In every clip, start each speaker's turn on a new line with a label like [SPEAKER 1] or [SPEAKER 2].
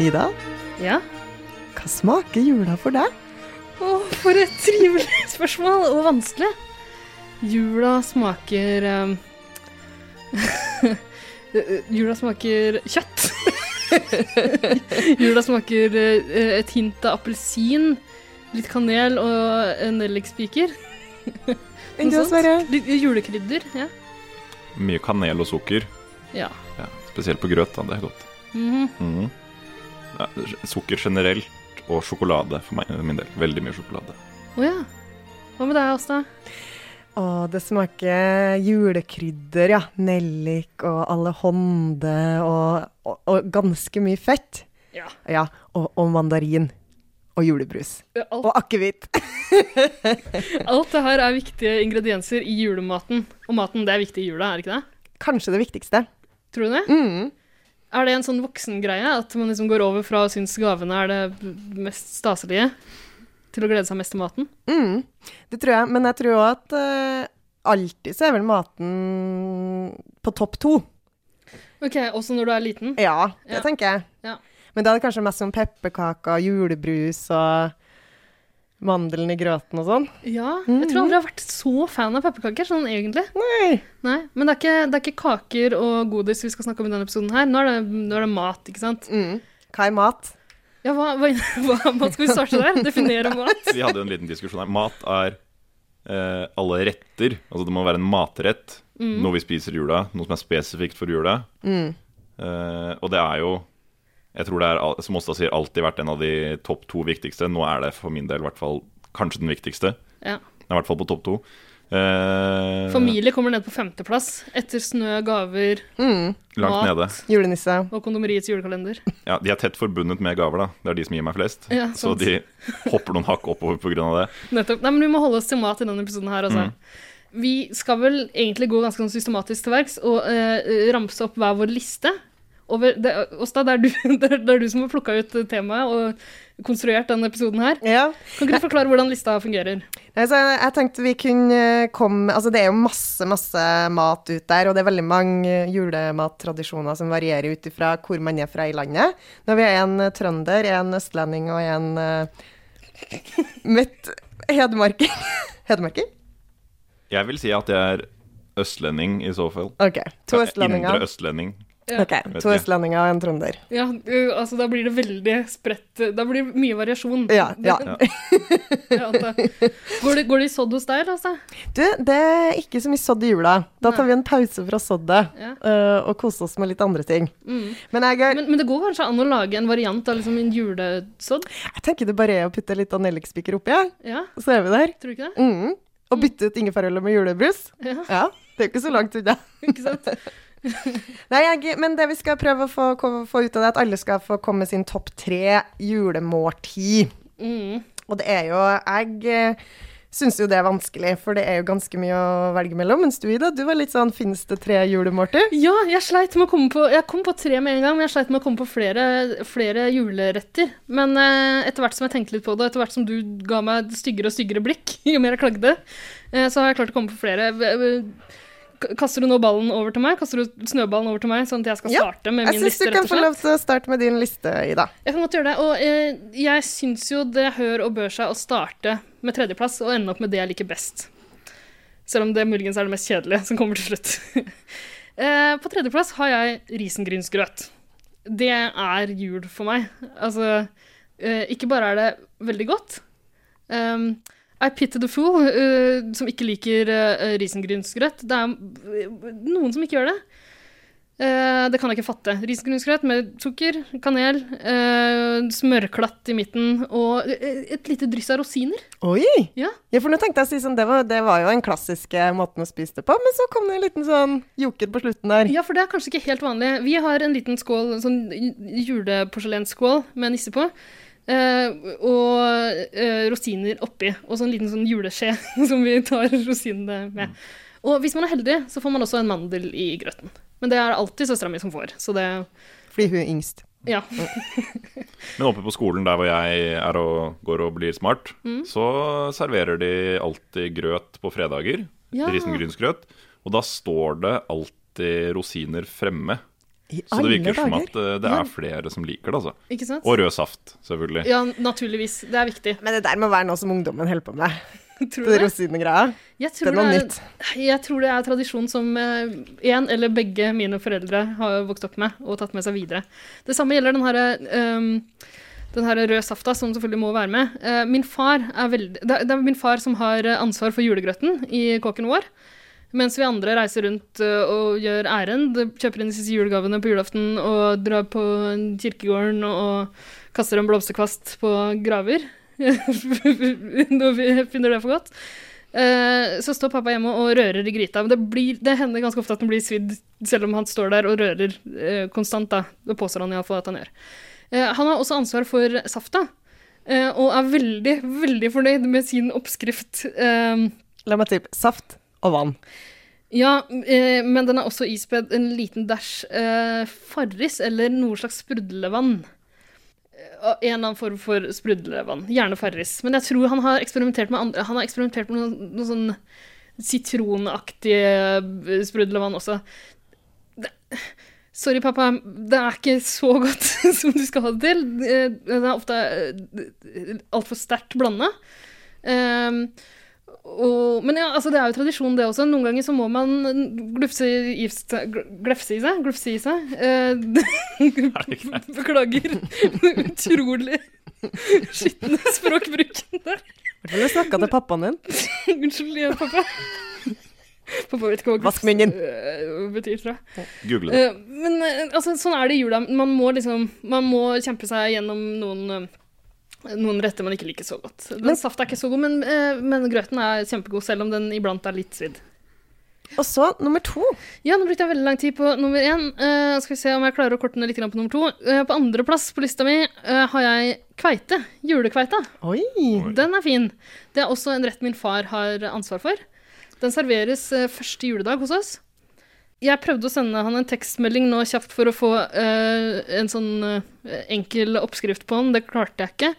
[SPEAKER 1] Ida,
[SPEAKER 2] Ja.
[SPEAKER 1] hva smaker jula for deg?
[SPEAKER 2] Å, for et trivelig spørsmål, og vanskelig. Jula smaker um, eh, Jula smaker kjøtt. Jula smaker eh, et hint av appelsin, litt kanel og en nellikspiker.
[SPEAKER 1] Enn
[SPEAKER 2] Noe
[SPEAKER 1] du,
[SPEAKER 2] sånt.
[SPEAKER 1] Sverre?
[SPEAKER 2] Litt eh, Julekrydder, ja.
[SPEAKER 3] Mye kanel og sukker.
[SPEAKER 2] ja.
[SPEAKER 3] Ja, spesielt på grøt, da. Det er godt.
[SPEAKER 2] Mhm.
[SPEAKER 3] Mhm. Ja, sukker generelt og sjokolade for meg, min del. Veldig mye sjokolade.
[SPEAKER 2] Å ja. Hva med deg, Åsta?
[SPEAKER 1] Å, det smaker julekrydder, ja. Nellik og allehånde og, og, og ganske mye fett.
[SPEAKER 2] Ja.
[SPEAKER 1] Ja, og, og mandarin. Og julebrus.
[SPEAKER 2] Alt,
[SPEAKER 1] Og akevitt.
[SPEAKER 2] alt det her er viktige ingredienser i julematen. Og maten, det er viktig i jula, er det ikke det?
[SPEAKER 1] Kanskje det viktigste.
[SPEAKER 2] Tror du det?
[SPEAKER 1] Mm.
[SPEAKER 2] Er det en sånn voksengreie at man liksom går over fra å synes gavene er det b- mest staselige, til å glede seg mest til maten?
[SPEAKER 1] Mm. Det tror jeg. Men jeg tror òg at eh, alltid så er vel maten på topp to.
[SPEAKER 2] Ok, Også når du er liten?
[SPEAKER 1] Ja, det
[SPEAKER 2] Ja.
[SPEAKER 1] tenker jeg.
[SPEAKER 2] Ja.
[SPEAKER 1] Men da er det kanskje mest som pepperkaker, julebrus og mandelen i grøten og sånn.
[SPEAKER 2] Ja. Jeg tror aldri jeg har vært så fan av pepperkaker, sånn egentlig.
[SPEAKER 1] Nei.
[SPEAKER 2] Nei, Men det er, ikke, det er ikke kaker og godis vi skal snakke om i denne episoden her. Nå er det, nå er det mat, ikke sant?
[SPEAKER 1] Mm. Hva er mat?
[SPEAKER 2] Ja, hva, hva, hva, hva skal vi starte der? Definere mat?
[SPEAKER 3] Vi hadde jo en liten diskusjon her. Mat er eh, alle retter. Altså det må være en matrett.
[SPEAKER 2] Mm.
[SPEAKER 3] Noe vi spiser i jula. Noe som er spesifikt for jula. Eh, og det er jo Jeg tror det er, al- som Åsta sier, alltid vært en av de topp to viktigste. Nå er det for min del i hvert fall kanskje den viktigste.
[SPEAKER 2] Ja.
[SPEAKER 3] Den er i hvert fall på topp to. Eh,
[SPEAKER 2] Familie kommer ned på femteplass etter snø, gaver
[SPEAKER 3] langt
[SPEAKER 2] mat.
[SPEAKER 3] nede.
[SPEAKER 1] Julenisse.
[SPEAKER 2] og kondomeriets julekalender.
[SPEAKER 3] Ja, De er tett forbundet med gaver, da. Det er de som gir meg flest.
[SPEAKER 2] Ja,
[SPEAKER 3] så
[SPEAKER 2] sant.
[SPEAKER 3] de hopper noen hakk oppover pga. det.
[SPEAKER 2] Nettopp. Nei, men vi må holde oss til mat i denne episoden her, altså. Vi skal vel egentlig gå ganske sånn systematisk til verks og eh, ramse opp hver vår liste. Over, det, Åsta, det er, du, det, er, det er du som har plukka ut temaet og konstruert denne episoden her.
[SPEAKER 1] Ja.
[SPEAKER 2] Kan ikke du forklare hvordan lista fungerer?
[SPEAKER 1] Nei, så jeg, jeg tenkte vi kunne eh, komme Altså, det er jo masse, masse mat ut der, og det er veldig mange eh, julemattradisjoner som varierer ut ifra hvor man er fra i landet. Når vi er en eh, trønder, en østlending og en uh, midt hedmarking. hedmarking?
[SPEAKER 3] Jeg vil si at jeg er østlending i så fall.
[SPEAKER 1] OK. To
[SPEAKER 3] Ja, Indre
[SPEAKER 1] østlendinger.
[SPEAKER 3] østlending.
[SPEAKER 2] Ja.
[SPEAKER 1] Ok, To
[SPEAKER 3] jeg.
[SPEAKER 1] østlendinger og en trønder.
[SPEAKER 2] Ja, eh, altså Da blir det veldig spredt eh, Da blir det mye variasjon.
[SPEAKER 1] Ja, ja.
[SPEAKER 2] Det- ja, at det- Går det, går det i sådd hos deg, eller? Altså?
[SPEAKER 1] Du, det er ikke så mye sodd i jula. Da tar vi en pause fra soddet
[SPEAKER 2] Ja. mm.
[SPEAKER 1] eh, og koser oss med litt andre ting. Men jeg, er-
[SPEAKER 2] Men, men det går kanskje an å lage en variant av liksom en julesådd?
[SPEAKER 1] jeg tenker det bare er å putte litt annellikspiker oppi, ja.
[SPEAKER 2] Ja,
[SPEAKER 1] så er vi der.
[SPEAKER 2] tror du ikke det?
[SPEAKER 1] Mm. Og bytte ut ingefærølet med julebrus.
[SPEAKER 2] Ja,
[SPEAKER 1] Ja, det er jo ikke så langt unna.
[SPEAKER 2] ikke sant?
[SPEAKER 1] Nei, jeg, men det vi skal prøve å få, ko- få ut av det, er at alle skal få komme sin topp tre julemåltid.
[SPEAKER 2] Mm.
[SPEAKER 1] Og det er jo Jeg eh, syns jo det er vanskelig, for det er jo ganske mye å velge mellom. Mens du, Ida, du var litt sånn Fins det tre julemåltid?
[SPEAKER 2] Ja, jeg sleit med å komme på Jeg kom på tre med en gang, men jeg sleit med å komme på flere, flere juleretter. Men eh, etter hvert som jeg tenkte litt på det, og etter hvert som du ga meg et styggere og styggere blikk, jo mer jeg klagde, eh, så har jeg klart å komme på flere. V- v- Kaster du nå ballen over til meg? Kaster du snøballen over til meg, sånn at jeg skal
[SPEAKER 1] Ja,
[SPEAKER 2] starte med
[SPEAKER 1] Jeg syns
[SPEAKER 2] min
[SPEAKER 1] du
[SPEAKER 2] liste, rett
[SPEAKER 1] kan
[SPEAKER 2] og
[SPEAKER 1] få
[SPEAKER 2] slett?
[SPEAKER 1] lov til å starte med din liste, Ida.
[SPEAKER 2] Jeg kan godt gjøre det. Og eh, jeg syns jo det hør og bør seg å starte med tredjeplass og ende opp med det jeg liker best. Selv om det muligens er det mest kjedelige som kommer til slutt. eh, på tredjeplass har jeg risengrynsgrøt. Det er jul for meg. Altså, eh, ikke bare er det veldig godt um, I pity the fool eh, som ikke liker eh, risengrynsgrøt. Det er eh, noen som ikke gjør det. Eh, det kan jeg ikke fatte. Risengrynsgrøt med sukker, kanel, eh, smørklatt i midten og eh, et lite dryss av rosiner.
[SPEAKER 1] Oi!
[SPEAKER 2] Ja.
[SPEAKER 1] Ja, for nå tenkte jeg å si sånn, det var, det var jo den klassiske måten å spise det på, men så kom det en liten sånn joker på slutten der.
[SPEAKER 2] ja, for det er kanskje ikke helt vanlig. Vi har en liten skål, en sånn j- juleporselensskål med nisse på. eh, og eh, rosiner oppi, og så en liten sånn juleskje som vi tar rosinene med. Og hvis man er heldig, så får man også en mandel i grøten. Men det er alltid søstera mi som får, så det
[SPEAKER 1] Fordi hun er yngst.
[SPEAKER 2] Ja.
[SPEAKER 3] Men oppe på skolen der hvor jeg er og går og blir smart, så serverer de alltid grøt på fredager.
[SPEAKER 2] Ja.
[SPEAKER 3] Risengrynsgrøt. Og da står det alltid rosiner fremme.
[SPEAKER 1] I
[SPEAKER 3] Så det
[SPEAKER 1] alle
[SPEAKER 3] virker som
[SPEAKER 1] dager.
[SPEAKER 3] at eh, det
[SPEAKER 1] Ja.
[SPEAKER 3] er flere som liker det, altså.
[SPEAKER 2] Ikke sant?
[SPEAKER 3] Og rød saft, selvfølgelig.
[SPEAKER 2] Ja, naturligvis. Det er viktig.
[SPEAKER 1] Men det der må være noe som ungdommen holder på med.
[SPEAKER 2] Tror du
[SPEAKER 1] Det
[SPEAKER 2] det?
[SPEAKER 1] rosinegreia.
[SPEAKER 2] Jeg tror
[SPEAKER 1] Det var
[SPEAKER 2] det er,
[SPEAKER 1] nytt.
[SPEAKER 2] jeg tror det er tradisjon som én eller begge mine foreldre har vokst opp med og tatt med seg videre. Det samme gjelder den herre ehm, den her røde safta, som selvfølgelig må være med. Eh, min far er veldig, det, er, det er min far som har eh, ansvar for julegrøten i kåken vår. Mens vi andre reiser rundt eh, og gjør ærend, kjøper inn de siste julegavene på julaften og drar på kirkegården og kaster en blomsterkvast på graver. Når vi finner det for godt. Eh, Så står pappa hjemme og rører i gryta. Men det, blir, det hender ganske ofte at den blir svidd, selv om han står der og rører eh, konstant. da. Det påstår han iallfall at han gjør. Eh, han har også ansvar for safta, eh, og er veldig, veldig fornøyd med sin oppskrift. Eh,
[SPEAKER 1] La meg tippe saft og vann.
[SPEAKER 2] ja, eh, men den er også ispedd en liten dæsj eh, Farris eller noe slags sprudlevann. Eh, En eller annen form for sprudlevann. Gjerne Farris. Men jeg tror han har eksperimentert med, andre, han har eksperimentert med noe, noe sånn sitronaktig sprudlevann også. Det, sorry, pappa. Det er ikke så godt som du skal ha det til. Eh, Den er ofte eh, altfor sterkt blanda. Um, og, men ja, altså det er jo tradisjon, det også. Noen ganger så må man glufse i, gl- glefse i seg. Glufse i seg. Eh, beklager. Utrolig skitne språkbruken der.
[SPEAKER 1] Har du snakka til pappaen din?
[SPEAKER 2] Unnskyld igjen, pappa. Pappa vet ikke hva
[SPEAKER 1] Vask munnen.
[SPEAKER 2] eh, betyr, tror jeg.
[SPEAKER 3] Google det.
[SPEAKER 2] Eh, men eh, altså, sånn er det i jula. Man må liksom Man må kjempe seg gjennom noen eh, noen retter man ikke liker så godt. Den safta er ikke så god, men, eh, men grøten er kjempegod, selv om den iblant er litt svidd.
[SPEAKER 1] Og så nummer to.
[SPEAKER 2] Ja, nå brukte jeg veldig lang tid på nummer én. Eh, skal vi se om jeg klarer å korte ned litt grann på nummer to. Eh, på andreplass på lista mi eh, har jeg kveite. Julekveita.
[SPEAKER 1] Oi.
[SPEAKER 2] Den er fin. Det er også en rett min far har ansvar for. Den serveres eh, første juledag hos oss. Jeg prøvde å sende han en tekstmelding nå kjapt for å få eh, en sånn eh, enkel oppskrift på den. Det klarte jeg ikke.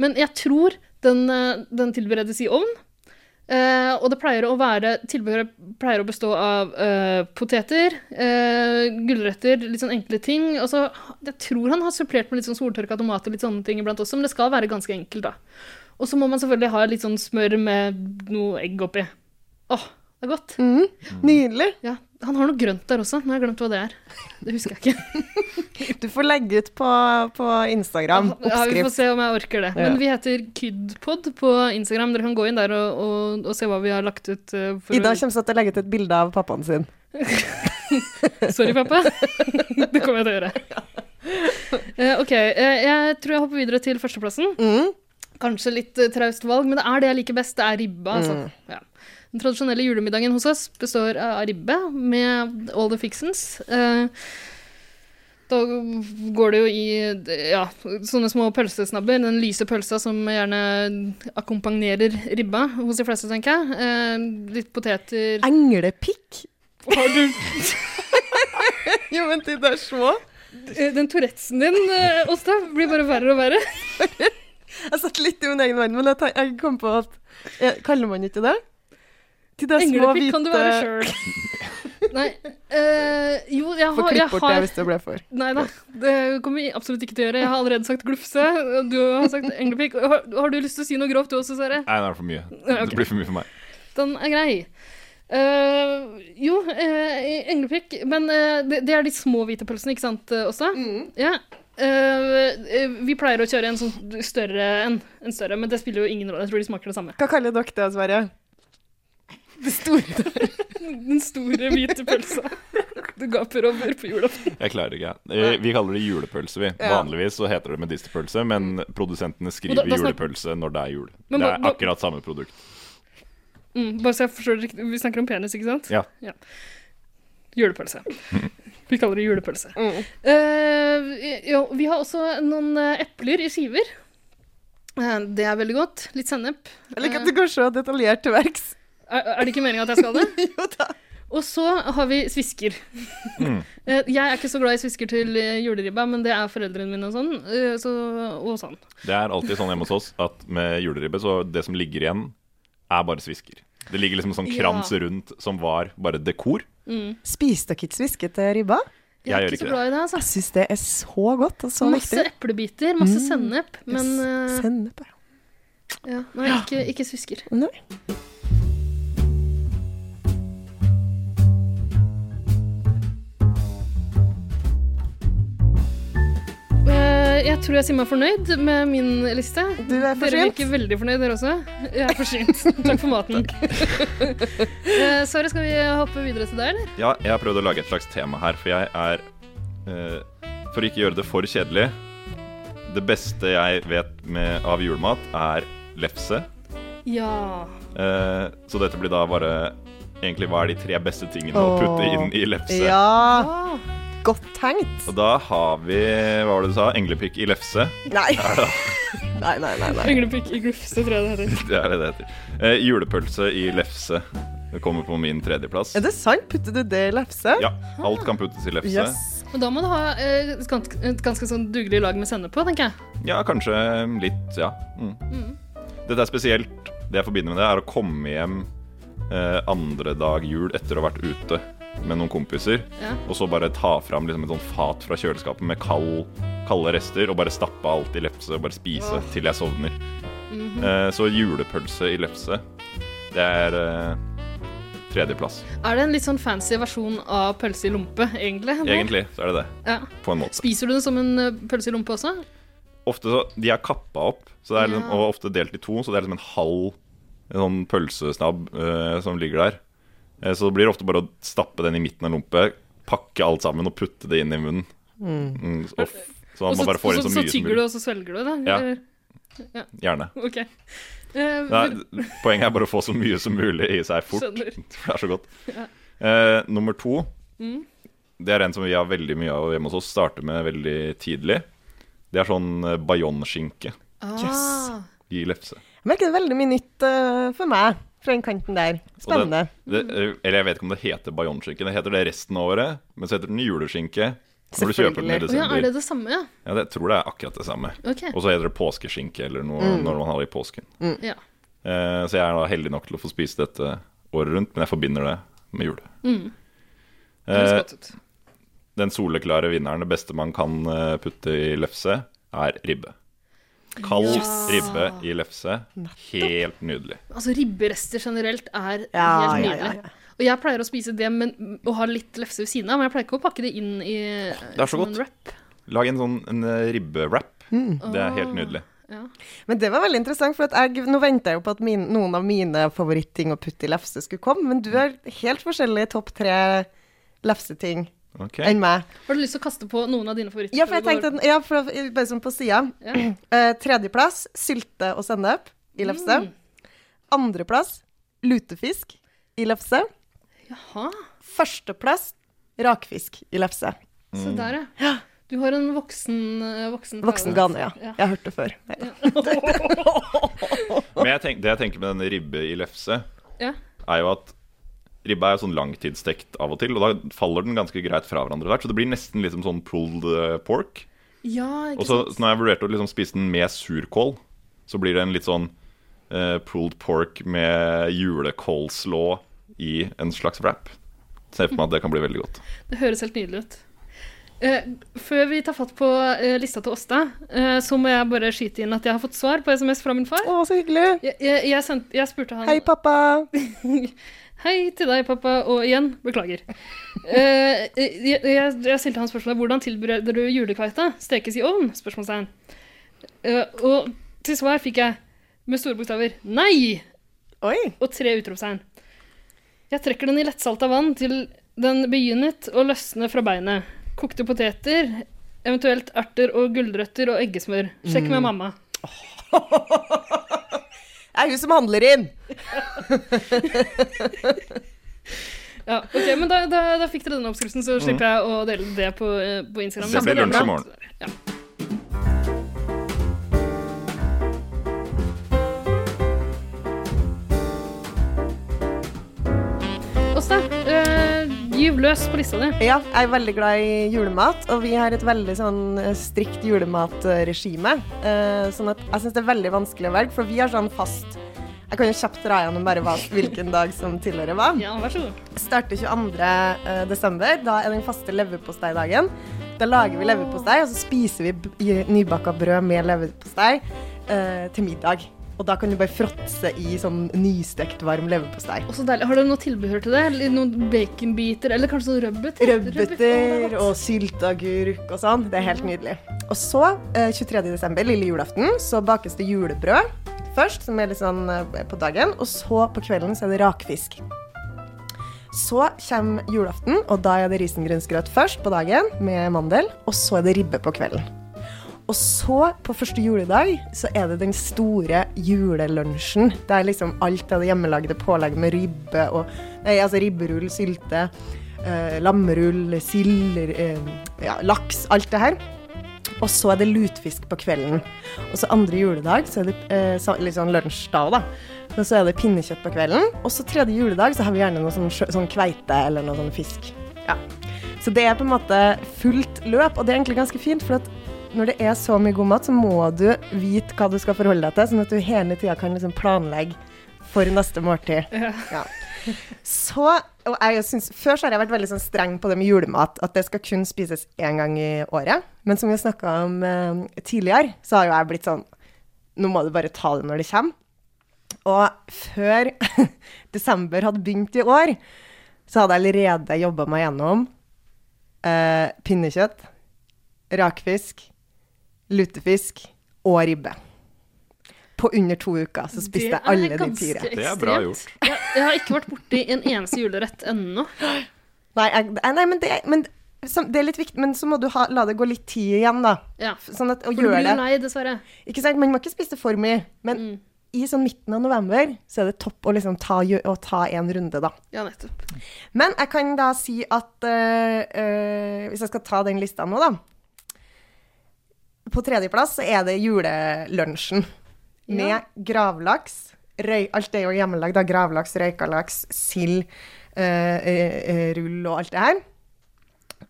[SPEAKER 2] Men jeg tror den, eh, den tilberedes i ovn. Eh, og det pleier å være Tilbehøret pleier å bestå av eh, poteter, eh, gulrøtter, litt sånn enkle ting. Og så Jeg tror han har supplert med litt sånn soltørka tomat og litt sånne ting iblant også, men det skal være ganske enkelt, da. Og så må man selvfølgelig ha litt sånn smør med noe egg oppi. Åh, det er godt.
[SPEAKER 1] Mhm. Nydelig.
[SPEAKER 2] Ja, Han har noe grønt der også. Nå har jeg glemt hva det er. Det husker jeg ikke.
[SPEAKER 1] Du får legge ut på, på Instagram
[SPEAKER 2] Ja, vi får
[SPEAKER 1] oppskrift.
[SPEAKER 2] se om jeg orker det. Men vi heter Kydpod på Instagram. Dere kan gå inn der og, og, og se hva vi har lagt ut. eh, For
[SPEAKER 1] Ida
[SPEAKER 2] å-
[SPEAKER 1] kommer så til å legge ut et bilde av pappaen sin.
[SPEAKER 2] Sorry, pappa. det kommer jeg til å gjøre. Eh, ok, eh, jeg tror jeg hopper videre til førsteplassen.
[SPEAKER 1] Mhm.
[SPEAKER 2] Kanskje litt eh, traust valg, men det er det jeg liker best. Det er ribba. Altså. Ja. Den tradisjonelle julemiddagen hos oss består av ribbe med all the fixings. Eh, da går det jo i ja, sånne små pølsesnabber. Den lyse pølsa som gjerne akkompagnerer ribba hos de fleste, tenker jeg. Eh, litt poteter
[SPEAKER 1] Englepikk?
[SPEAKER 2] Har du
[SPEAKER 1] Jo, men de der små.
[SPEAKER 2] Eh, Den Tourettesen din, eh, Åsta, blir bare verre og verre.
[SPEAKER 1] Jeg satt litt i min egen verden, men jeg, tenk- jeg kom på at jeg, Kaller man ikke det? De der små
[SPEAKER 2] Englepikk
[SPEAKER 1] hvite
[SPEAKER 2] kan du være sjøl. Nei eh, Jo, jeg
[SPEAKER 1] Få
[SPEAKER 2] har, jeg
[SPEAKER 1] klipp bort det
[SPEAKER 2] har
[SPEAKER 1] hvis det ble for.
[SPEAKER 2] Nei da, det kommer jeg absolutt ikke til å gjøre. Jeg har allerede sagt glufse. Du har sagt englepikk. Har, har du lyst til å si noe grovt du også, Sverre?
[SPEAKER 3] Nei, det er for mye.
[SPEAKER 2] Ja, ok.
[SPEAKER 3] Det blir for mye for meg.
[SPEAKER 2] Den er grei. Eh, jo, eh, englepikk. Men eh, det, det er de små hvite pølsene, ikke sant, Åsta? Ja. Eh, eh, vi pleier å kjøre en sånn større en. En større, men det spiller jo ingen rolle. Jeg tror de smaker det samme.
[SPEAKER 1] Hva kaller dere det, Sverre? Det store.
[SPEAKER 2] Den store, hvite pølsa du gaper over på julaften.
[SPEAKER 3] Jeg klarer ikke. Eh, Vi kaller det julepølse, vi.
[SPEAKER 1] Ja.
[SPEAKER 3] Vanligvis så heter det medisterpølse, men
[SPEAKER 2] Mm. Og
[SPEAKER 3] produsentene
[SPEAKER 2] da-
[SPEAKER 3] skriver
[SPEAKER 2] da snakker-
[SPEAKER 3] julepølse når det er jul.
[SPEAKER 2] Men
[SPEAKER 3] Det
[SPEAKER 2] hva-
[SPEAKER 3] er
[SPEAKER 2] hva-
[SPEAKER 3] akkurat samme produkt.
[SPEAKER 2] Mm, bare så jeg forstår det riktig. Vi snakker om penis, ikke sant?
[SPEAKER 3] Ja.
[SPEAKER 2] Julepølse. Vi kaller det julepølse.
[SPEAKER 1] Mm.
[SPEAKER 2] Eh, jo, vi har også noen eh, epler i skiver. Eh, det er veldig godt. Litt sennep.
[SPEAKER 1] Jeg liker at du går så detaljert til verks.
[SPEAKER 2] Er, er det ikke meninga at jeg skal det?
[SPEAKER 1] Jo da.
[SPEAKER 2] Og så har vi svisker.
[SPEAKER 3] Mm.
[SPEAKER 2] Eh, jeg er ikke så glad i svisker til eh, juleribba, men det er foreldrene mine og sånn. eh, så, og sånn.
[SPEAKER 3] Det er alltid sånn hjemme hos oss at med juleribbe, så det som ligger igjen, er bare svisker. Det ligger liksom en sånn krans
[SPEAKER 2] Ja.
[SPEAKER 3] rundt som var bare dekor.
[SPEAKER 1] Spiser dere ikke sviske til ribba?
[SPEAKER 2] Mm. Jeg er
[SPEAKER 3] Jeg gjør
[SPEAKER 2] ikke
[SPEAKER 3] ikke
[SPEAKER 2] så glad i det, altså.
[SPEAKER 1] Jeg syns det er så godt og så
[SPEAKER 2] Masse
[SPEAKER 1] viktig. Mm.
[SPEAKER 2] eplebiter, masse sennep, men eh,
[SPEAKER 1] Sennep, ja.
[SPEAKER 2] ja, nei, ikke, ikke svisker.
[SPEAKER 1] Nei.
[SPEAKER 2] Eh, Jeg tror jeg sier meg fornøyd med min liste.
[SPEAKER 1] Du er
[SPEAKER 2] Dere
[SPEAKER 1] forsynt.
[SPEAKER 2] virker veldig fornøyd, dere også. Jeg er forsynt. Takk for maten. Eh, Sverre, skal vi hoppe videre til deg, eller?
[SPEAKER 3] Ja, jeg har prøvd å lage et slags tema her, for jeg er eh, For ikke å gjøre det for kjedelig Det beste jeg vet med, av julemat, er lefse.
[SPEAKER 2] Ja.
[SPEAKER 3] Eh, så dette blir da bare Egentlig hva er de tre beste tingene å
[SPEAKER 1] Åh.
[SPEAKER 3] putte inn i lefse?
[SPEAKER 1] Ja,
[SPEAKER 2] Ah,
[SPEAKER 1] godt tenkt.
[SPEAKER 3] Og da har vi Hva var det du sa? Englepikk i lefse.
[SPEAKER 1] Nei. Nei, nei, nei. nei.
[SPEAKER 2] Englepikk i glufse, tror jeg det heter.
[SPEAKER 3] Det er det det heter. Eh, julepølse i lefse. Det kommer på min tredjeplass.
[SPEAKER 1] Er det sant? Putter du det i lefse?
[SPEAKER 3] Ja, alt kan puttes i lefse.
[SPEAKER 1] Yes.
[SPEAKER 2] Men da må du ha eh, et ganske, et ganske sånn dugelig lag med sennep på, tenker jeg.
[SPEAKER 3] Ja, kanskje litt, ja. Mm. Dette er spesielt. Det jeg forbinder med det, er å komme hjem eh, andre dag jul etter å ha vært ute med noen kompiser,
[SPEAKER 2] Ja.
[SPEAKER 3] og så bare ta fram liksom, et sånt fat fra kjøleskapet med kald, kalde rester, og bare stappe alt i lefse og bare spise til jeg sovner.
[SPEAKER 2] Mhm.
[SPEAKER 3] eh, så julepølse i lefse, det er eh, tredjeplass.
[SPEAKER 2] Er det en litt sånn fancy versjon av pølse i lompe, egentlig?
[SPEAKER 3] Egentlig så er det det,
[SPEAKER 2] Ja.
[SPEAKER 3] på en måte.
[SPEAKER 2] Spiser du det som en eh, pølse i lompe også?
[SPEAKER 3] Ofte så, De er kappa opp, så det er liksom,
[SPEAKER 2] Ja.
[SPEAKER 3] og ofte delt i to, så det er liksom en halv en sånn pølsesnabb eh, som ligger der. Eh, så det blir ofte bare å stappe den i midten av lompet, pakke alt sammen og putte det inn i munnen. Mm, så- og f- så
[SPEAKER 2] Og så,
[SPEAKER 3] man bare får inn
[SPEAKER 2] så,
[SPEAKER 3] så
[SPEAKER 2] så
[SPEAKER 3] mye som
[SPEAKER 2] tygger du,
[SPEAKER 3] mulig.
[SPEAKER 2] og så svelger du det?
[SPEAKER 3] Ja.
[SPEAKER 2] eller?
[SPEAKER 3] Gjerne.
[SPEAKER 2] Ok. Eh,
[SPEAKER 3] Nei,
[SPEAKER 2] hvor-
[SPEAKER 3] d- poenget er bare å få så mye som mulig i seg fort.
[SPEAKER 2] Skjønner.
[SPEAKER 3] For det er så godt. Eh, nummer to.
[SPEAKER 2] Mm.
[SPEAKER 3] Det er en som vi har veldig mye av hjemme hos oss. Starter med veldig tidlig. Det er sånn eh, bayonskinke
[SPEAKER 2] ah,
[SPEAKER 3] i lefse.
[SPEAKER 1] Jeg merker det veldig mye nytt eh, for meg fra den kanten der.
[SPEAKER 3] Og den-
[SPEAKER 1] Spennende.
[SPEAKER 3] Det,
[SPEAKER 2] Mm.
[SPEAKER 3] eh, eller jeg vet ikke om det heter bayonskinke. Det heter det resten av året, men så heter den juleskinke når du kjøper den i
[SPEAKER 1] Selvfølgelig.
[SPEAKER 2] Å ja,
[SPEAKER 3] desember.
[SPEAKER 2] er det det samme, ja?
[SPEAKER 3] Ja, det, jeg tror det er akkurat det samme.
[SPEAKER 2] Ok.
[SPEAKER 3] Og så heter det påskeskinke eller noe når man har det i påsken.
[SPEAKER 2] Ja.
[SPEAKER 3] Eh, så jeg er da heldig nok til å få spise dette året rundt, men jeg forbinder det med jul.
[SPEAKER 2] Mm. Det høres
[SPEAKER 3] Eh,
[SPEAKER 2] godt ut.
[SPEAKER 3] den soleklare vinneren, det beste man kan eh, putte i lefse, er ribbe. Kald ribbe i lefse. Helt nydelig.
[SPEAKER 2] Altså, ribberester generelt er
[SPEAKER 1] Ja, ja,
[SPEAKER 2] helt
[SPEAKER 1] ja,
[SPEAKER 2] nydelig. Og jeg pleier å spise det men, og ha litt lefse ved siden av, men jeg pleier ikke å pakke det inn i
[SPEAKER 3] det er så
[SPEAKER 2] som en
[SPEAKER 3] godt.
[SPEAKER 2] wrap.
[SPEAKER 3] Lag en sånn en eh, ribbewrap. Det er
[SPEAKER 2] Ah.
[SPEAKER 3] helt nydelig.
[SPEAKER 2] Ja.
[SPEAKER 1] Men det var veldig interessant, for at jeg, nå venter jeg jo på at min, noen av mine favorittting å putte i lefse skulle komme, men du har helt forskjellige topp tre lefseting
[SPEAKER 3] Ok.
[SPEAKER 1] enn meg.
[SPEAKER 2] Har du lyst til å kaste på noen av dine favoritter?
[SPEAKER 1] Ja, for jeg
[SPEAKER 2] før vi
[SPEAKER 1] tenkte,
[SPEAKER 2] går-
[SPEAKER 1] at- ja, for, bare sånn på sida.
[SPEAKER 2] Ja.
[SPEAKER 1] Eh, tredjeplass sylte og sennep i lefse.
[SPEAKER 2] Mm.
[SPEAKER 1] Andreplass lutefisk i lefse.
[SPEAKER 2] Jaha,
[SPEAKER 1] Førsteplass rakfisk i lefse.
[SPEAKER 3] Mm.
[SPEAKER 2] se der, ja. Du har en voksen eh, Voksen,
[SPEAKER 1] Voksen
[SPEAKER 2] tale.
[SPEAKER 1] gane, ja. Jeg
[SPEAKER 2] Ja.
[SPEAKER 1] har hørt det før. Nei.
[SPEAKER 3] Men jeg tenk, det jeg tenker med denne ribbe i lefse,
[SPEAKER 2] Ja.
[SPEAKER 3] er jo at ribbe er jo sånn langtidsstekt av og til, og da faller den ganske greit fra hverandre hvert, så det blir nesten liksom sånn pulled eh, pork.
[SPEAKER 2] ja, ikke
[SPEAKER 3] Og så
[SPEAKER 2] sant.
[SPEAKER 3] så når jeg vurderte å liksom spise den med surkål, så blir det en litt sånn eh, pulled pork med julekålslå i en slags wrap. Ser for meg at det kan bli veldig godt.
[SPEAKER 2] Det høres helt nydelig ut. Eh, før vi tar fatt på eh, lista til Åsta, eh, så må jeg bare skyte inn at jeg har fått svar på SMS fra min far.
[SPEAKER 1] Å, så hyggelig.
[SPEAKER 2] Jeg, jeg, jeg, sendte, jeg spurte han
[SPEAKER 1] Hei, pappa.
[SPEAKER 2] Hei til deg, pappa, og igjen, beklager. Eh, jeg, jeg, jeg stilte han spørsmålet hvordan tilbereder du julekveita? Stekes i ovn? spørsmålstegn. Eh, og til svar fikk jeg med store bokstaver nei
[SPEAKER 1] Oi.
[SPEAKER 2] og tre utropstegn. Jeg trekker den i lettsalta vann til den begynnet å løsne fra beinet. Kokte poteter, eventuelt erter og gulrøtter og eggesmør. Sjekk
[SPEAKER 3] Mm.
[SPEAKER 2] med mamma.
[SPEAKER 1] Det er hun som handler inn.
[SPEAKER 2] Ja, ok, men da, da, da fikk dere den oppskriften, så slipper jeg å dele det på, eh, på Instagram.
[SPEAKER 3] Det blir Mm. lunsj i morgen.
[SPEAKER 2] Ja. Åsta, eh, gyv løs på lista di.
[SPEAKER 1] Ja, jeg er veldig glad i julemat, og vi har et veldig sånn eh, strikt julematregime. Eh, Sånn at jeg syns det er veldig vanskelig å velge, for vi har sånn fast Jeg kan jo kjapt dra gjennom bare hva, hvilken dag som tilhører hva.
[SPEAKER 2] Ja, vær så god.
[SPEAKER 1] Starter 22. eh, desember. Da er den faste leverposteidagen. Da lager vi leverpostei, og så spiser vi b- i- nybakka brød med leverpostei eh, til middag. Og da kan du bare fråtse i sånn nystekt, varm leverpostei.
[SPEAKER 2] Og så deilig. Har dere noe tilbehør til det? Eller Noen baconbiter, eller kanskje noe rødbet?
[SPEAKER 1] Rødbeter og sylteagurk og sånn. Det er helt nydelig. Og så, eh, 23. desember, lille julaften, så bakes det julebrød først, som er litt sånn eh, på dagen, og så på kvelden så er det rakfisk. Så kommer julaften, og da er det risengrynsgrøt først på dagen med mandel, og så er det ribbe på kvelden. Og så, på første juledag, så er det den store julelunsjen. Der liksom alt av det hjemmelagde pålegget med ribbe og Nei, altså ribberull, sylte, eh, lammerull, sild, eh, ja, laks, alt det her. Og så er det lutfisk på kvelden. Og så andre juledag, så er det eh, sa- litt sånn lunsj da, da. Men så er det pinnekjøtt på kvelden. Og så tredje juledag så har vi gjerne noe sånn, sjø- sånn kveite eller noe sånn fisk. Ja. Så det er på en måte fullt løp, og det er egentlig ganske fint, for at når det er så mye god mat, så må du vite hva du skal forholde deg til, sånn at du hele tida kan liksom planlegge for neste måltid. Ja. Så, og jeg synes, Før så har jeg vært veldig sånn streng på det med julemat, at det skal kun spises én gang i året. Men som vi har snakka om eh, tidligere, så har jo jeg blitt sånn Nå må du bare ta det når det kommer. Og før desember hadde begynt i år, så hadde jeg allerede jobba meg gjennom eh, pinnekjøtt, rakfisk, lutefisk og ribbe. På under to uker så spiste jeg alle de fire.
[SPEAKER 3] Det er bra gjort.
[SPEAKER 2] Jeg, jeg har ikke vært borti en eneste julerett ennå.
[SPEAKER 1] Nei, jeg, eh, nei, nei men, det, men som, det er litt viktig, men så må du ha, la det gå litt tid igjen, da.
[SPEAKER 2] Ja.
[SPEAKER 1] F- Sånn at, og
[SPEAKER 2] For du
[SPEAKER 1] gjør
[SPEAKER 2] blir
[SPEAKER 1] det.
[SPEAKER 2] jo Mm. lei, dessverre.
[SPEAKER 1] Ikke sant? Man må ikke spise det for mye. Men i sånn midten av november så er det topp å liksom ta, gjø- å ta en runde, da.
[SPEAKER 2] Ja, nettopp.
[SPEAKER 1] Men jeg kan da si at eh, eh, Hvis jeg skal ta den lista nå, da. På tredjeplass så er det julelunsjen. Med
[SPEAKER 2] Ja.
[SPEAKER 1] gravlaks. Røy, alt det er jo hjemmelagd. da. Gravlaks, røyka laks, sild, eh, eh, eh, rull og alt det her.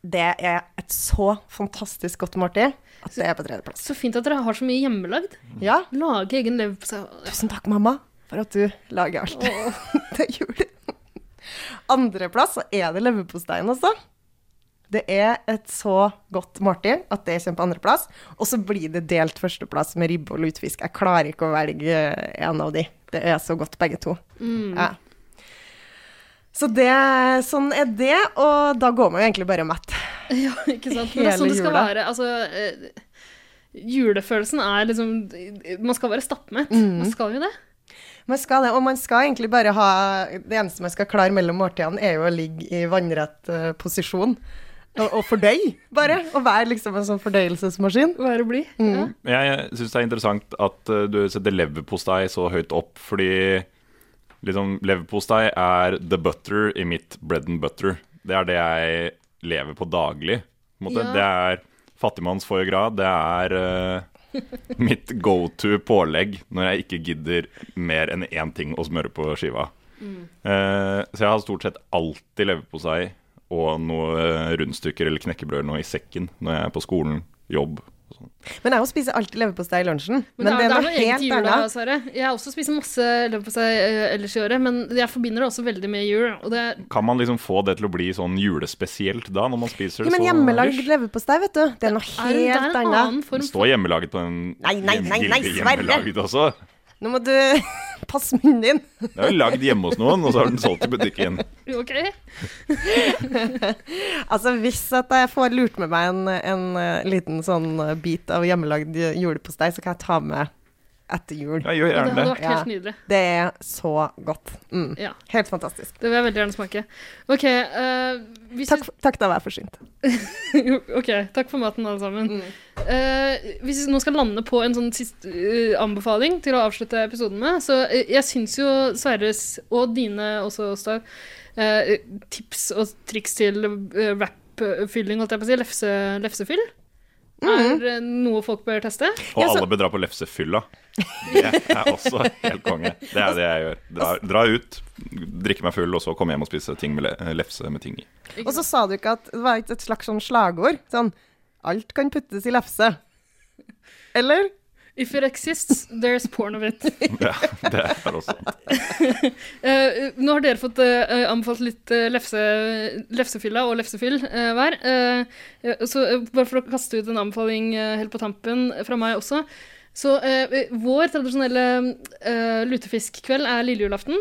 [SPEAKER 1] Det er et så fantastisk godt måltid at det er på tredjeplass.
[SPEAKER 2] Så fint at dere har så mye hjemmelagd.
[SPEAKER 1] Ja,
[SPEAKER 2] Lage egen leverpostei.
[SPEAKER 1] tusen takk, mamma, for at du lager alt til jul. Andreplass så er det leverposteien, altså. Det er et så godt måltid at det kommer på andreplass. Og så blir det delt førsteplass med ribbe og lutefisk. Jeg klarer ikke å velge en av de. Det er så godt, begge to. Ja. Så det, sånn er det, og da går man jo egentlig bare mett.
[SPEAKER 2] Ja, ikke sant? Men det
[SPEAKER 1] Hele
[SPEAKER 2] er sånn det skal
[SPEAKER 1] jula.
[SPEAKER 2] være. Altså, eh, julefølelsen er liksom Man skal være stappmett.
[SPEAKER 1] Mm.
[SPEAKER 2] Man skal jo det.
[SPEAKER 1] Man skal det, og man skal egentlig bare ha Det eneste man skal klare mellom måltidene, er jo å ligge i vannrett eh, posisjon. Og, og fordøye, bare. Og være liksom en sånn fordøyelsesmaskin.
[SPEAKER 2] Være blid.
[SPEAKER 1] Mm.
[SPEAKER 2] Ja.
[SPEAKER 3] Jeg syns det er interessant at eh, du setter leverpostei så høyt opp, fordi liksom, leverpostei er the butter i mitt bread and butter. Det er det jeg lever på daglig. På en måte.
[SPEAKER 2] Ja.
[SPEAKER 3] Det er fattigmanns foie gras. Det er eh, mitt go to pålegg når jeg ikke gidder mer enn én ting å smøre på skiva. Eh, så jeg har stort sett alltid leverpostei og noen rundstykker eller knekkebrød eller noe i sekken når jeg er på skolen, jobb. og sånn.
[SPEAKER 1] Men jeg spiser alltid leverpostei i lunsjen.
[SPEAKER 2] Men, det, er, det er noe eget i jula, Sverre. Jeg har også spist masse leverpostei eh, ellers i året, men jeg forbinder det også veldig med jul. Og det er
[SPEAKER 3] Kan man liksom få det til å bli sånn julespesielt da, når man spiser
[SPEAKER 1] Ja,
[SPEAKER 3] det
[SPEAKER 1] men
[SPEAKER 3] så
[SPEAKER 1] hjemmelagd
[SPEAKER 3] ish?
[SPEAKER 1] leverpostei, vet du. Det er noe
[SPEAKER 2] er det er
[SPEAKER 1] helt
[SPEAKER 2] en annen
[SPEAKER 1] annet.
[SPEAKER 3] Det
[SPEAKER 2] form for
[SPEAKER 3] står hjemmelaget på den
[SPEAKER 1] Nei, nei, nei,
[SPEAKER 3] hjem-
[SPEAKER 1] nei,
[SPEAKER 3] gilde
[SPEAKER 1] Sverre!
[SPEAKER 3] hjemmelaget også.
[SPEAKER 1] Nå må du passe munnen din.
[SPEAKER 3] Det er jo lagd hjemme hos noen, og så har den solgt i butikken.
[SPEAKER 2] Ok.
[SPEAKER 1] Altså, hvis at jeg får lurt med meg en, en eh, liten sånn eh, bit av hjemmelagd julepostei, så kan jeg ta med etter jul.
[SPEAKER 3] Ja, gjør
[SPEAKER 2] Det
[SPEAKER 3] gjerne
[SPEAKER 2] hadde
[SPEAKER 3] det.
[SPEAKER 2] vært
[SPEAKER 1] Ja.
[SPEAKER 2] helt nydelig.
[SPEAKER 1] Det er så godt. Mm.
[SPEAKER 2] Ja.
[SPEAKER 1] Helt fantastisk.
[SPEAKER 2] Det vil jeg veldig gjerne smake. Ok, eh, hvis
[SPEAKER 1] Takk, takk da var jeg forsynt.
[SPEAKER 2] Ok, takk for maten, alle sammen.
[SPEAKER 1] Mm.
[SPEAKER 2] Eh, hvis vi nå skal lande på en sånn siste eh, anbefaling til å avslutte episoden med, så eh, jeg syns jo Sverres, og dine også, Stav, eh, tips og triks til uh, wrap-fylling, holdt jeg på å si, lefse, lefsefyll,
[SPEAKER 1] Mm.
[SPEAKER 2] er eh, noe folk bør teste.
[SPEAKER 3] Og
[SPEAKER 1] Ja, så-
[SPEAKER 3] alle bør dra på lefsefylla. Det er også helt konge. Det er det jeg gjør. Dra, dra ut, drikke meg full, og så komme hjem og spise ting med le lefse med ting i.
[SPEAKER 1] Og så sa du ikke at det var ikke et slags sånn slagord? Sånn Alt kan puttes i lefse. Eller?
[SPEAKER 2] If it exists, there's porn of it.
[SPEAKER 3] Ja, det er også
[SPEAKER 2] Eh, nå har dere fått eh, anbefalt litt eh, lefse, lefsefylla og lefsefyll eh, hver. Eh, eh, så eh, bare for å kaste ut en anbefaling eh, helt på tampen fra meg også. Så eh, vår tradisjonelle eh, lutefiskkveld er lille julaften.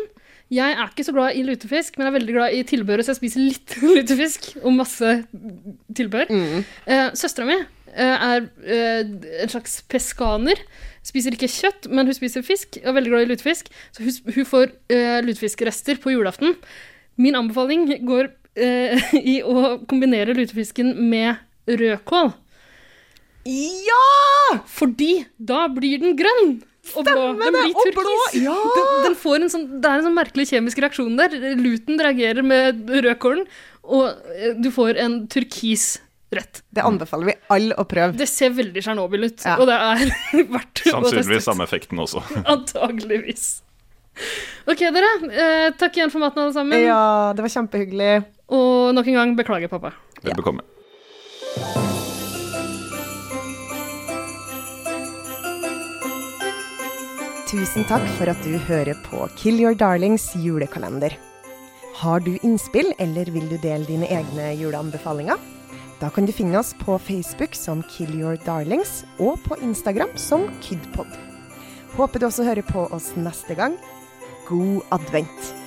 [SPEAKER 2] Jeg er ikke så glad i lutefisk, men er veldig glad i tilbøret, så jeg spiser litt lutefisk og masse tilbør.
[SPEAKER 1] Mm.
[SPEAKER 2] Eh, Søstera mi er eh, en slags peskaner. Spiser ikke kjøtt, men hun spiser fisk. Og er veldig glad i lutefisk. Så hun, hun får eh, lutefiskrester på julaften. Min anbefaling går eh, i å kombinere lutefisken med rødkål.
[SPEAKER 1] Ja! Ah!
[SPEAKER 2] Fordi da blir den grønn! Og blå. Den
[SPEAKER 1] det,
[SPEAKER 2] blir
[SPEAKER 1] og blå,
[SPEAKER 2] turkis.
[SPEAKER 1] ja!
[SPEAKER 2] Den, den får en sånn, det er en sånn merkelig kjemisk reaksjon der. Luten reagerer med rødkålen, og eh, du får en turkis rett.
[SPEAKER 1] Det anbefaler vi alle å prøve.
[SPEAKER 2] Det ser veldig Tsjernobyl ut,
[SPEAKER 1] Ja.
[SPEAKER 2] og det er verdt å teste ut.
[SPEAKER 3] sannsynligvis samme effekten også.
[SPEAKER 2] Antageligvis. Ok, dere. Eh, takk igjen for maten, alle sammen.
[SPEAKER 1] Ja, det var kjempehyggelig.
[SPEAKER 2] Og nok en gang, beklager, pappa.
[SPEAKER 3] Vel bekomme.
[SPEAKER 1] Tusen takk for at du hører på Kill Your Darlings julekalender. Har du innspill, eller vil du dele dine egne juleanbefalinger? Da kan du finne oss på Facebook som Kill Your Darlings, og på Instagram som Kidpod. Håper du også hører på oss neste gang. God advent!